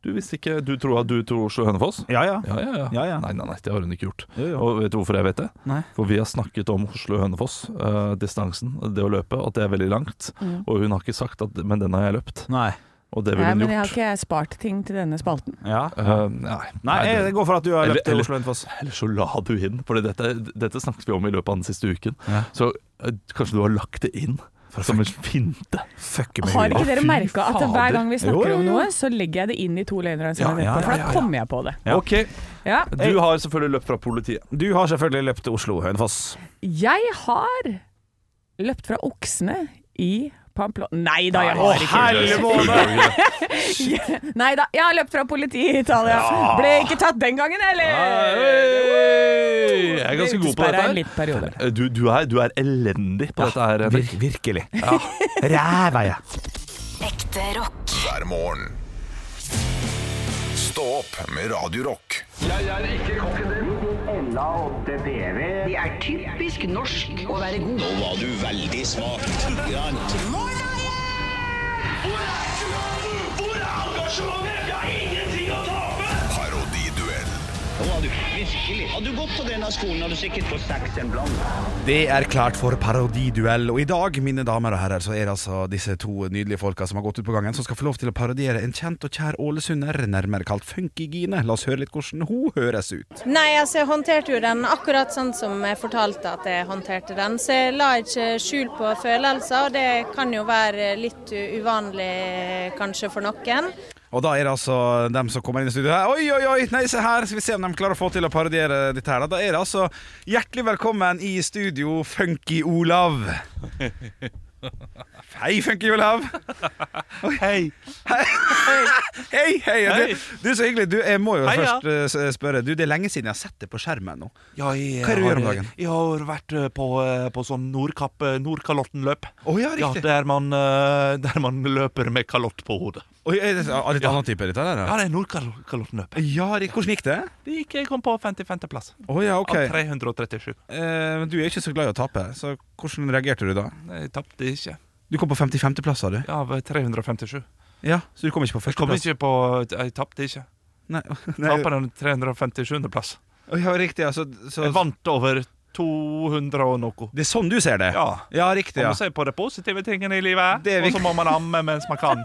[SPEAKER 4] Du visste ikke Du tror at du tror Oslo-Hønefoss?
[SPEAKER 3] Ja, ja.
[SPEAKER 4] Ja ja ja.
[SPEAKER 3] Ja, ja.
[SPEAKER 4] Nei, nei, nei, det har hun ikke gjort.
[SPEAKER 3] Jo, jo.
[SPEAKER 4] Og vet du hvorfor jeg vet det?
[SPEAKER 3] Nei.
[SPEAKER 4] For vi har snakket om Oslo-Hønefoss, eh, distansen, det å løpe, at det er veldig langt. Og hun har ikke sagt at 'men den har jeg løpt',
[SPEAKER 3] Nei.
[SPEAKER 4] og det ville
[SPEAKER 2] Mm. Nei, men
[SPEAKER 4] hun
[SPEAKER 2] jeg har
[SPEAKER 4] gjort.
[SPEAKER 2] ikke spart ting til denne spalten.
[SPEAKER 3] Ja.
[SPEAKER 4] Eh, nei.
[SPEAKER 3] Nei,
[SPEAKER 4] det-
[SPEAKER 3] jeg går for at du har
[SPEAKER 4] Eller-
[SPEAKER 3] løpt til
[SPEAKER 4] eller-
[SPEAKER 3] Oslo Hønefoss.
[SPEAKER 4] Eller så la du inn, for dette, dette snakket vi om i løpet av den siste uken.
[SPEAKER 3] Ja.
[SPEAKER 4] Så eh, kanskje du har lagt det inn som en finte.
[SPEAKER 3] Fuck med
[SPEAKER 2] Har
[SPEAKER 3] huet.
[SPEAKER 2] ikke dere
[SPEAKER 4] Fy
[SPEAKER 2] merka at
[SPEAKER 4] fader.
[SPEAKER 2] hver gang vi snakker
[SPEAKER 3] Jo, jo,
[SPEAKER 2] om
[SPEAKER 3] jo.
[SPEAKER 2] noe, så legger jeg det inn i to løgner og en sannhet
[SPEAKER 3] Ja, ja,
[SPEAKER 2] etterpå,
[SPEAKER 3] ja,
[SPEAKER 2] for
[SPEAKER 3] ja,
[SPEAKER 2] da
[SPEAKER 3] ja.
[SPEAKER 2] kommer jeg på det.
[SPEAKER 3] Ja.
[SPEAKER 4] Ok,
[SPEAKER 2] Ja.
[SPEAKER 4] Du har selvfølgelig løpt fra politiet.
[SPEAKER 3] Du har selvfølgelig løpt til Oslo Hønefoss.
[SPEAKER 2] Jeg har løpt fra oksene i Pamplona Nei da, jeg
[SPEAKER 6] Nei,
[SPEAKER 2] har ikke
[SPEAKER 6] Herlig
[SPEAKER 4] Full
[SPEAKER 6] måte.
[SPEAKER 4] dager.
[SPEAKER 2] Nei da, jeg har løpt fra politiet i Italia. Ble ikke tatt den gangen heller!
[SPEAKER 4] Hei! Jeg er ganske god på
[SPEAKER 2] Utesperret en
[SPEAKER 4] dette.
[SPEAKER 2] liten periode.
[SPEAKER 4] her. Eh, Du, du, er, du er elendig på dette her. Henrik.
[SPEAKER 3] Vir virkelig. Ræva, ja.
[SPEAKER 5] Ekte rock.
[SPEAKER 1] hver morgen. Stå opp med Radio Rock.
[SPEAKER 7] Det er typisk norsk å være god.
[SPEAKER 8] Nå var du veldig smak.
[SPEAKER 1] Parodiduell
[SPEAKER 8] Nå var du virkelig. Hadde du gått på denne skolen, hadde du sikkert fått seks en blant.
[SPEAKER 3] Det er klart for parodiduell, og i dag, mine damer og herrer, så er det altså disse to nydelige folka som har gått ut på gangen, som skal få lov til å parodiere en kjent og kjær ålesunder, nærmere kalt Funkygine. La oss høre litt hvordan hun høres ut.
[SPEAKER 9] Nei, altså jeg håndterte jo den akkurat sånn som jeg fortalte at jeg håndterte den. Så jeg la ikke skjul på følelser, og det kan jo være litt u- uvanlig kanskje for noen.
[SPEAKER 3] Og da er det altså dem som kommer inn i studio her. Oi, oi, oi, nei, se her, skal vi se om de klarer å få til å parodiere dette her. da. Da er det altså hjertelig velkommen i studio, Funky-Olav. Hei, Funky-Olav.
[SPEAKER 4] Hei.
[SPEAKER 3] Hei, hei.
[SPEAKER 4] Hei.
[SPEAKER 3] Du, du, så hyggelig. Du, jeg må jo
[SPEAKER 4] Hei, ja.
[SPEAKER 3] først eh, s- spørre. Du, det er lenge siden jeg har sett det på skjermen nå.
[SPEAKER 4] jeg,
[SPEAKER 3] Hva er det du gjør om dagen?
[SPEAKER 4] Jeg har vært eh, på, eh, på sånn Nordkapp, eh, Nordkalottenløp.
[SPEAKER 3] Å ja, riktig.
[SPEAKER 4] der, man, eh, der man løper med kalott på hodet.
[SPEAKER 3] Oi, er det er litt annen type dette der,
[SPEAKER 4] Ja, det er Nordkalottenløpet.
[SPEAKER 3] ja. Ja, rikk- hvordan gikk det?
[SPEAKER 4] Det gikk jeg kom på 55.-plass
[SPEAKER 3] Å ja, ok.
[SPEAKER 4] av 337.
[SPEAKER 3] Eh, men du er ikke så glad i å tape, så hvordan reagerte du da?
[SPEAKER 4] Jeg tapte ikke.
[SPEAKER 3] Du kom på 55. plass, sa du?
[SPEAKER 4] Av 357.
[SPEAKER 3] Ja, så du kom ikke på
[SPEAKER 4] Jeg kom
[SPEAKER 3] førsteplass?
[SPEAKER 4] ikke på Jeg tapte ikke.
[SPEAKER 3] Nei, nei.
[SPEAKER 4] Tapte den 357.-plass.
[SPEAKER 3] Å, Ja, riktig, altså. Så,
[SPEAKER 4] Jeg vant over 200 og noe.
[SPEAKER 3] det er sånn du ser det?
[SPEAKER 4] Ja.
[SPEAKER 3] ja riktig.
[SPEAKER 4] Man
[SPEAKER 3] Ja.
[SPEAKER 4] må se på de positive tingene i livet,
[SPEAKER 3] Det er
[SPEAKER 4] og så må man amme mens man kan.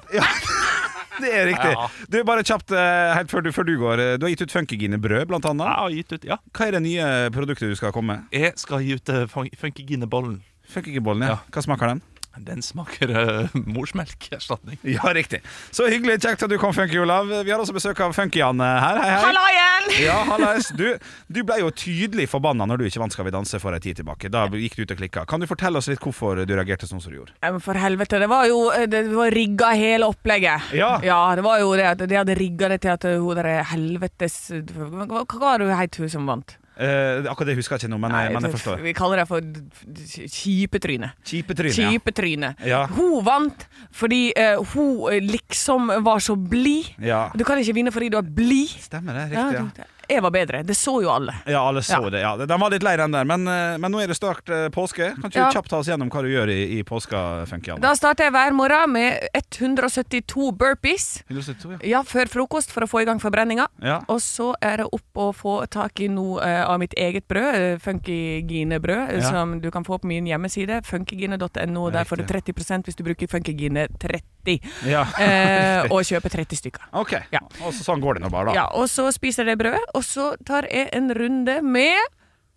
[SPEAKER 3] Det er riktig.
[SPEAKER 4] Ja.
[SPEAKER 3] Du, bare kjapt eh, helt før du, før du går. eh, Du har gitt ut Funkygine-brød, blant
[SPEAKER 4] Jeg
[SPEAKER 3] annet.
[SPEAKER 4] har gitt ut, ja.
[SPEAKER 3] Hva er det nye produktet du skal komme med?
[SPEAKER 4] Jeg skal gi ut eh, fun- Funkyginebollen.
[SPEAKER 3] Funkyginebollen, ja.
[SPEAKER 4] Ja.
[SPEAKER 3] Hva smaker den?
[SPEAKER 4] Den smaker uh, morsmelkerstatning.
[SPEAKER 3] Ja, riktig. Så hyggelig. Kjekt at du kom, Funky Olav. Vi har også besøk av Funky-Jan her. Hei, hei.
[SPEAKER 2] Halla igjen!
[SPEAKER 3] Ja, hallais. Du, du ble jo tydelig forbanna når du ikke vant Skal vi danse for ei tid tilbake. Da gikk du ut og klikka. Kan du fortelle oss litt hvorfor du reagerte sånn som du gjorde?
[SPEAKER 2] Ja, men For helvete, det var jo Det var rigga hele opplegget.
[SPEAKER 3] Ja.
[SPEAKER 2] det var jo det at de hadde rigga det til at hun der helvetes Hva hva var det hun het hun som vant?
[SPEAKER 3] Eh, akkurat det husker jeg ikke nå, men,
[SPEAKER 2] Nei,
[SPEAKER 3] men jeg forstår.
[SPEAKER 2] Vi kaller det for d- d- kjipetryne.
[SPEAKER 3] Kjipe tryne. ja.
[SPEAKER 2] Kjipetryne.
[SPEAKER 3] Ja.
[SPEAKER 2] Hun vant fordi eh, hun eh, liksom var så blid.
[SPEAKER 3] Ja.
[SPEAKER 2] Du kan ikke vinne fordi du er blid.
[SPEAKER 3] Stemmer det.
[SPEAKER 2] Ja,
[SPEAKER 3] Riktig. ja.
[SPEAKER 2] du- Jeg var bedre. Det så jo alle.
[SPEAKER 3] Ja, alle så
[SPEAKER 2] Ja.
[SPEAKER 3] det. ja De var litt lei den der, men, eh, men nå er det snart eh, påske. Kan ikke
[SPEAKER 2] Ja.
[SPEAKER 3] du kjapt ta oss gjennom hva du gjør i, i påska, Funky-Jan?
[SPEAKER 2] Da starter jeg hver morgen med 172 burpees.
[SPEAKER 3] 172, ja.
[SPEAKER 2] Ja, før frokost for å få i gang forbrenninga.
[SPEAKER 3] Ja.
[SPEAKER 2] Og så er det opp å få tak i noe eh, av mitt eget brød, eh, Funkygine-brød, eh,
[SPEAKER 3] Ja.
[SPEAKER 2] som du kan få på min hjemmeside, funkygine.no. Der får du 30 hvis du bruker Funkygine30,
[SPEAKER 3] ja.
[SPEAKER 2] eh, og kjøper 30 stykker.
[SPEAKER 3] OK.
[SPEAKER 2] Ja.
[SPEAKER 3] Og så, sånn går det nå bare, da.
[SPEAKER 2] Ja, og så spiser jeg det brødet, og så tar jeg en runde med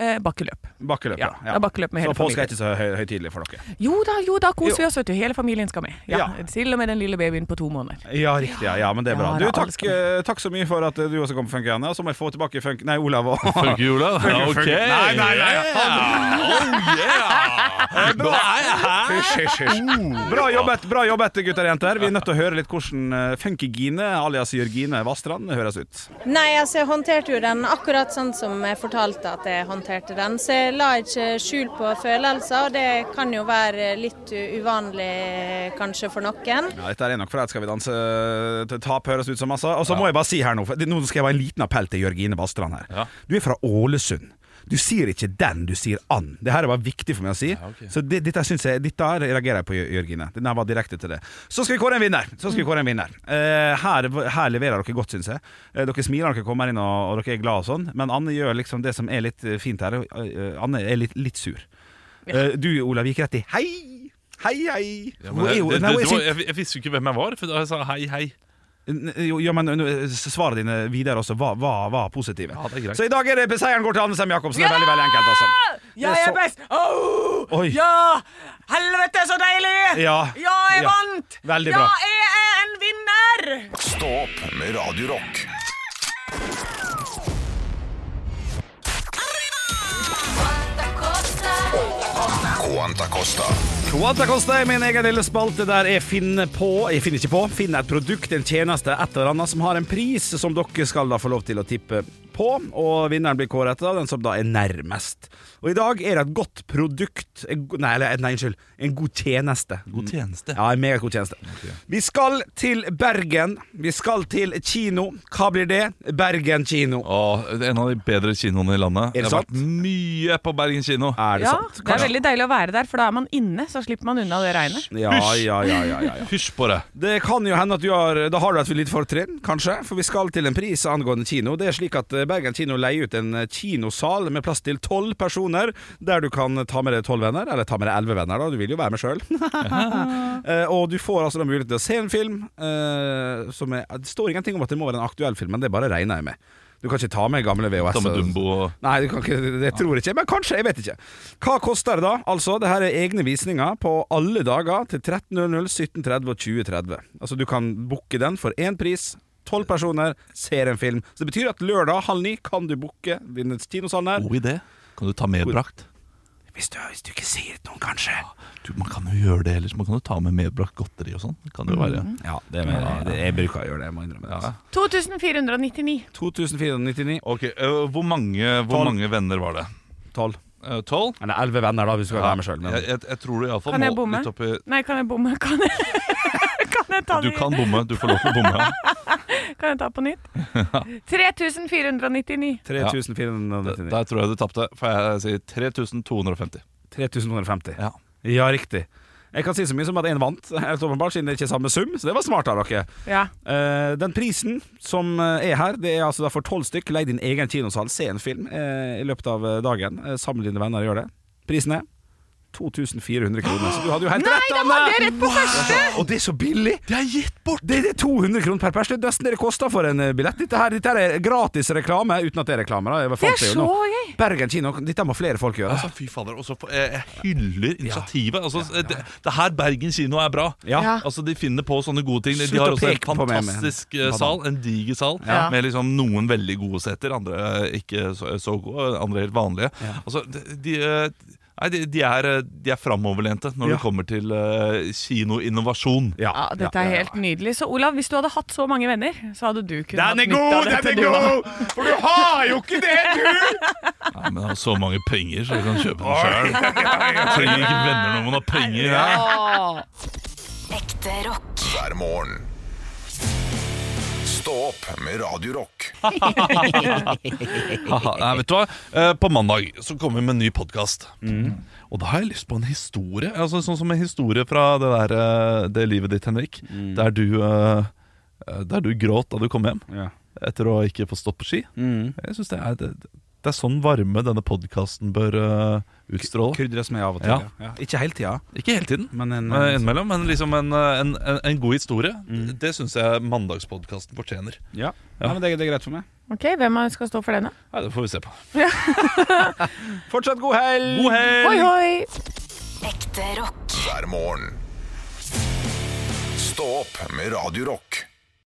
[SPEAKER 2] eh, bakkeløp.
[SPEAKER 3] Bakkeløp,
[SPEAKER 2] Ja, det er bakkeløp med hele
[SPEAKER 3] så påske
[SPEAKER 2] familien.
[SPEAKER 3] er ikke så høy, høytidelig for dere?
[SPEAKER 2] Jo da, jo da,
[SPEAKER 3] Jo.
[SPEAKER 2] koser vi oss, vet du. Hele familien skal med. Ja,
[SPEAKER 3] Ja.
[SPEAKER 2] Til og med den lille babyen på to måneder.
[SPEAKER 3] Ja, riktig. Ja, ja men det
[SPEAKER 2] Ja,
[SPEAKER 3] er bra.
[SPEAKER 2] det
[SPEAKER 3] Du,
[SPEAKER 2] er alle
[SPEAKER 3] takk,
[SPEAKER 2] skal
[SPEAKER 3] eh, takk så mye for at eh, du også kom på Funky Anne. Og så må jeg få tilbake Funk... Nei, Olav og
[SPEAKER 4] Funkyola?
[SPEAKER 3] Funky- Nei, nei, nei.
[SPEAKER 4] Oh, Nå er jeg her!
[SPEAKER 3] Hysj, hysj, hysj. Oh. Bra jobbet, bra jobbet, gutter og jenter. Vi er nødt til å høre litt hvordan eh, Funky-Gine, alias Jørgine Vassdrand, høres ut.
[SPEAKER 9] Nei, altså jeg håndterte jo den akkurat sånn som jeg fortalte at jeg håndterte den. Så jeg la ikke skjul på følelser, og det kan jo være litt u- uvanlig kanskje for noen.
[SPEAKER 3] Ja, Dette er nok fra et Skal vi danse til tap, høres ut som, altså. Og så må jeg bare si her nå, for det- nå skal jeg være en liten appell til Jørgine Vassdrand her.
[SPEAKER 4] Ja.
[SPEAKER 3] Du er fra Ålesund. Du sier ikke 'den', du sier 'an'. Det her er bare viktig for meg å si. Så det, dette synes jeg, dette her reagerer jeg på, Jør- Jørgine. Den her var direkte til det. Så skal vi kåre en vinner! Så
[SPEAKER 4] Mm.
[SPEAKER 3] skal vi kåre en vinner. Eh, her, her leverer dere godt, synes jeg. Eh, dere smiler, dere kommer inn og, og dere er glad og sånn. Men Anne gjør liksom det som er litt eh, fint her. Eh, eh, Anne er litt, litt sur. Eh, du, Olav, gikk rett i 'hei'. Hei, hei!
[SPEAKER 4] Ja,
[SPEAKER 3] Hun
[SPEAKER 4] men
[SPEAKER 3] er
[SPEAKER 4] det,
[SPEAKER 3] jo-
[SPEAKER 4] det,
[SPEAKER 3] nei, hun er
[SPEAKER 4] det var,
[SPEAKER 3] sint.
[SPEAKER 4] jeg, jeg visste jo ikke hvem jeg var, for da jeg sa hei, hei.
[SPEAKER 3] N- Jo, ja, men n- svaret dine videre også var, var, var positive.
[SPEAKER 4] Ja, det er greit.
[SPEAKER 3] så i dag er det seieren går til Anne Sem Jacobsen. Det er veldig, veldig enkelt, altså.
[SPEAKER 2] Jeg
[SPEAKER 3] Det
[SPEAKER 2] er
[SPEAKER 3] er så-
[SPEAKER 2] best! Åh!
[SPEAKER 3] Oi.
[SPEAKER 2] Ja! Helvete, så deilig!
[SPEAKER 3] Ja.
[SPEAKER 2] Ja, jeg
[SPEAKER 3] Ja.
[SPEAKER 2] vant!
[SPEAKER 3] Veldig
[SPEAKER 2] ja,
[SPEAKER 3] bra.
[SPEAKER 2] jeg er en vinner!
[SPEAKER 1] Stå opp med Radio Rock
[SPEAKER 5] Quanta Costa.
[SPEAKER 1] KNT Quanta Costa.
[SPEAKER 3] Quatacosta er min egen lille spalte der jeg finner på Jeg finner ikke på. Finner et produkt, en tjeneste, et eller annet som har en pris som dere skal da få lov til å tippe på. Og vinneren blir kåret av den som da er nærmest. Og i dag er det et godt produkt en go- Nei, eller, nei unnskyld. En god tjeneste.
[SPEAKER 4] God tjeneste.
[SPEAKER 3] Ja, en megagod tjeneste. Vi skal til Bergen. Vi skal til kino. Hva blir det? Bergen kino.
[SPEAKER 4] Åh, det er en av de bedre kinoene i landet.
[SPEAKER 3] Er det
[SPEAKER 4] Jeg har vært
[SPEAKER 3] sant?
[SPEAKER 4] mye på Bergen kino.
[SPEAKER 3] Er det
[SPEAKER 2] Ja,
[SPEAKER 3] sant?
[SPEAKER 2] det er veldig deilig å være der, for da er man inne, så slipper man unna det regnet.
[SPEAKER 3] Ja, ja, ja, ja, ja, ja.
[SPEAKER 4] Hysj på det.
[SPEAKER 3] Det kan jo hende at du har Da har du et litt fortrinn, kanskje, for vi skal til en pris angående kino. Det er slik at eh, Bergen kino leier ut en eh, kinosal med plass til tolv personer, der du kan ta med deg tolv venner, eller ta med deg elleve venner, da, du vil jo være med sjøl. og du får altså da mulighet til å se en film eh, som er Det står ingenting om at det må være en aktuell film, men det bare regner jeg med. Du kan ikke ta med gamle VHS.
[SPEAKER 4] Ta med Dumbo og
[SPEAKER 3] Nei, du kan ikke, det- det tror jeg ikke, men kanskje, jeg vet ikke. Hva koster det da? Altså, det her er egne visninger på alle dager til 13.00, 17.30 og 20.30. Altså, du kan booke den for én pris. Tolv personer ser en film. Så det betyr at lørdag halv ni kan du booke denne kinosalen her.
[SPEAKER 4] God idé. Kan du ta medbrakt?
[SPEAKER 3] Hvis du, hvis du ikke sier det til noen, kanskje.
[SPEAKER 4] Du, man kan jo gjøre det ellers. Man kan jo ta med medbrakt godteri og sånn. Det Kan jo være
[SPEAKER 3] Ja, det er, det, jeg bruker å gjøre det, jeg må innrømme det. Altså.
[SPEAKER 2] 2499.
[SPEAKER 3] 2499
[SPEAKER 4] Ok, øh, Hvor, mange, hvor
[SPEAKER 3] Tolv.
[SPEAKER 4] mange venner var det?
[SPEAKER 3] tolv.
[SPEAKER 4] Øh, Tolv?
[SPEAKER 3] Eller elleve venner, da, hvis du skal være med sjøl.
[SPEAKER 4] jeg, jeg, jeg tror du iallfall
[SPEAKER 2] Kan jeg bomme?
[SPEAKER 4] litt oppi
[SPEAKER 2] Nei, kan jeg bomme? Kan jeg, kan jeg ta
[SPEAKER 4] Du
[SPEAKER 2] det i-
[SPEAKER 4] kan bomme. Du får lov til å bomme.
[SPEAKER 2] Kan jeg ta på nytt? 3499.
[SPEAKER 3] 3499.
[SPEAKER 4] Der tror jeg du tapte, for jeg sier 3250.
[SPEAKER 3] 3250.
[SPEAKER 4] Ja.
[SPEAKER 3] Ja, riktig. Jeg kan si så mye som at én vant, helt åpenbart, siden det ikke er samme sum. Så det var smart av dere.
[SPEAKER 2] Ja.
[SPEAKER 3] Eh, den prisen som eh, er her, det er altså da for tolv stykk. Legg din egen kinosal, se en film eh, i løpet av eh, dagen. Eh, Samle dine venner og gjør det. Prisen er 2400 kroner. Så du hadde jo helt rett,
[SPEAKER 2] da
[SPEAKER 3] Anne!
[SPEAKER 2] hadde jeg rett på første!
[SPEAKER 3] Og det er så billig! Det er gitt bort! Det, er 200 kroner per pers. Det er nesten det det koster for en eh, billett. Dette her, dette her er gratis reklame, uten at det er reklame. Da. Folk
[SPEAKER 2] Det er
[SPEAKER 3] ser jo
[SPEAKER 2] så
[SPEAKER 3] nå.
[SPEAKER 2] gøy!
[SPEAKER 3] Bergen kino, dette må flere folk gjøre.
[SPEAKER 4] Altså, fy fader, også for, jeg, jeg hyller initiativet. Altså, Det, det her Bergen kino er bra.
[SPEAKER 3] Ja.
[SPEAKER 2] Ja.
[SPEAKER 4] Altså, De finner på sånne gode ting. De
[SPEAKER 3] Slutt
[SPEAKER 4] har
[SPEAKER 3] å
[SPEAKER 4] også en
[SPEAKER 3] peke på meg, men-
[SPEAKER 4] fantastisk eh, sal, en diger sal,
[SPEAKER 2] Ja.
[SPEAKER 4] med liksom noen veldig gode seter, andre eh, ikke så, så gode, andre helt vanlige. Altså, de, de, eh, Nei, de, de er, eh, de er framoverlente når
[SPEAKER 3] Ja.
[SPEAKER 4] det kommer til eh, kinoinnovasjon.
[SPEAKER 3] Ja,
[SPEAKER 2] Ja, dette er helt nydelig. Så Olav, hvis du hadde hatt så mange venner, så hadde du kunnet hatt
[SPEAKER 3] Den
[SPEAKER 2] nytte
[SPEAKER 3] er
[SPEAKER 2] av
[SPEAKER 3] god,
[SPEAKER 2] dette.
[SPEAKER 3] den er
[SPEAKER 2] du også.
[SPEAKER 3] god! For du har jo ikke det, du!
[SPEAKER 4] Nei, men jeg har så mange penger, så jeg kan kjøpe den sjøl. Trenger ikke venner når man har penger. Ja.
[SPEAKER 5] Ekte rock.
[SPEAKER 1] Hver morgen. Stå opp med Radio Rock.
[SPEAKER 4] Haha, Nei, vet du hva? Eh, På mandag så kommer vi med en ny podkast. Og da har jeg lyst på en historie. Altså Sånn som en historie fra det, der, eh, det livet ditt, Henrik. Der, du, eh, eh, der du gråt da du kom hjem
[SPEAKER 3] Ja.
[SPEAKER 4] etter å ikke få stått på ski. Jeg synes det, er, det, det er sånn varme denne podkasten bør eh, utstråle.
[SPEAKER 3] Krydres med av og til.
[SPEAKER 4] Ja.
[SPEAKER 3] Ja. Ikke hele tida,
[SPEAKER 4] Ikke hele tiden,
[SPEAKER 3] men en,
[SPEAKER 4] eh, innimellom, men liksom en, eh, en, en, en god historie. Det, det syns jeg mandagspodkasten fortjener.
[SPEAKER 3] ja. Nei, men det, er- det er greit for meg.
[SPEAKER 2] Ok, hvem er det som skal stå for denne?
[SPEAKER 4] Nei, det får vi se på.
[SPEAKER 3] Fortsatt god helg!
[SPEAKER 4] God helg!
[SPEAKER 2] Hoi, hoi!
[SPEAKER 5] Ekte rock.
[SPEAKER 1] Hver morgen. Stå opp med Radio Rock.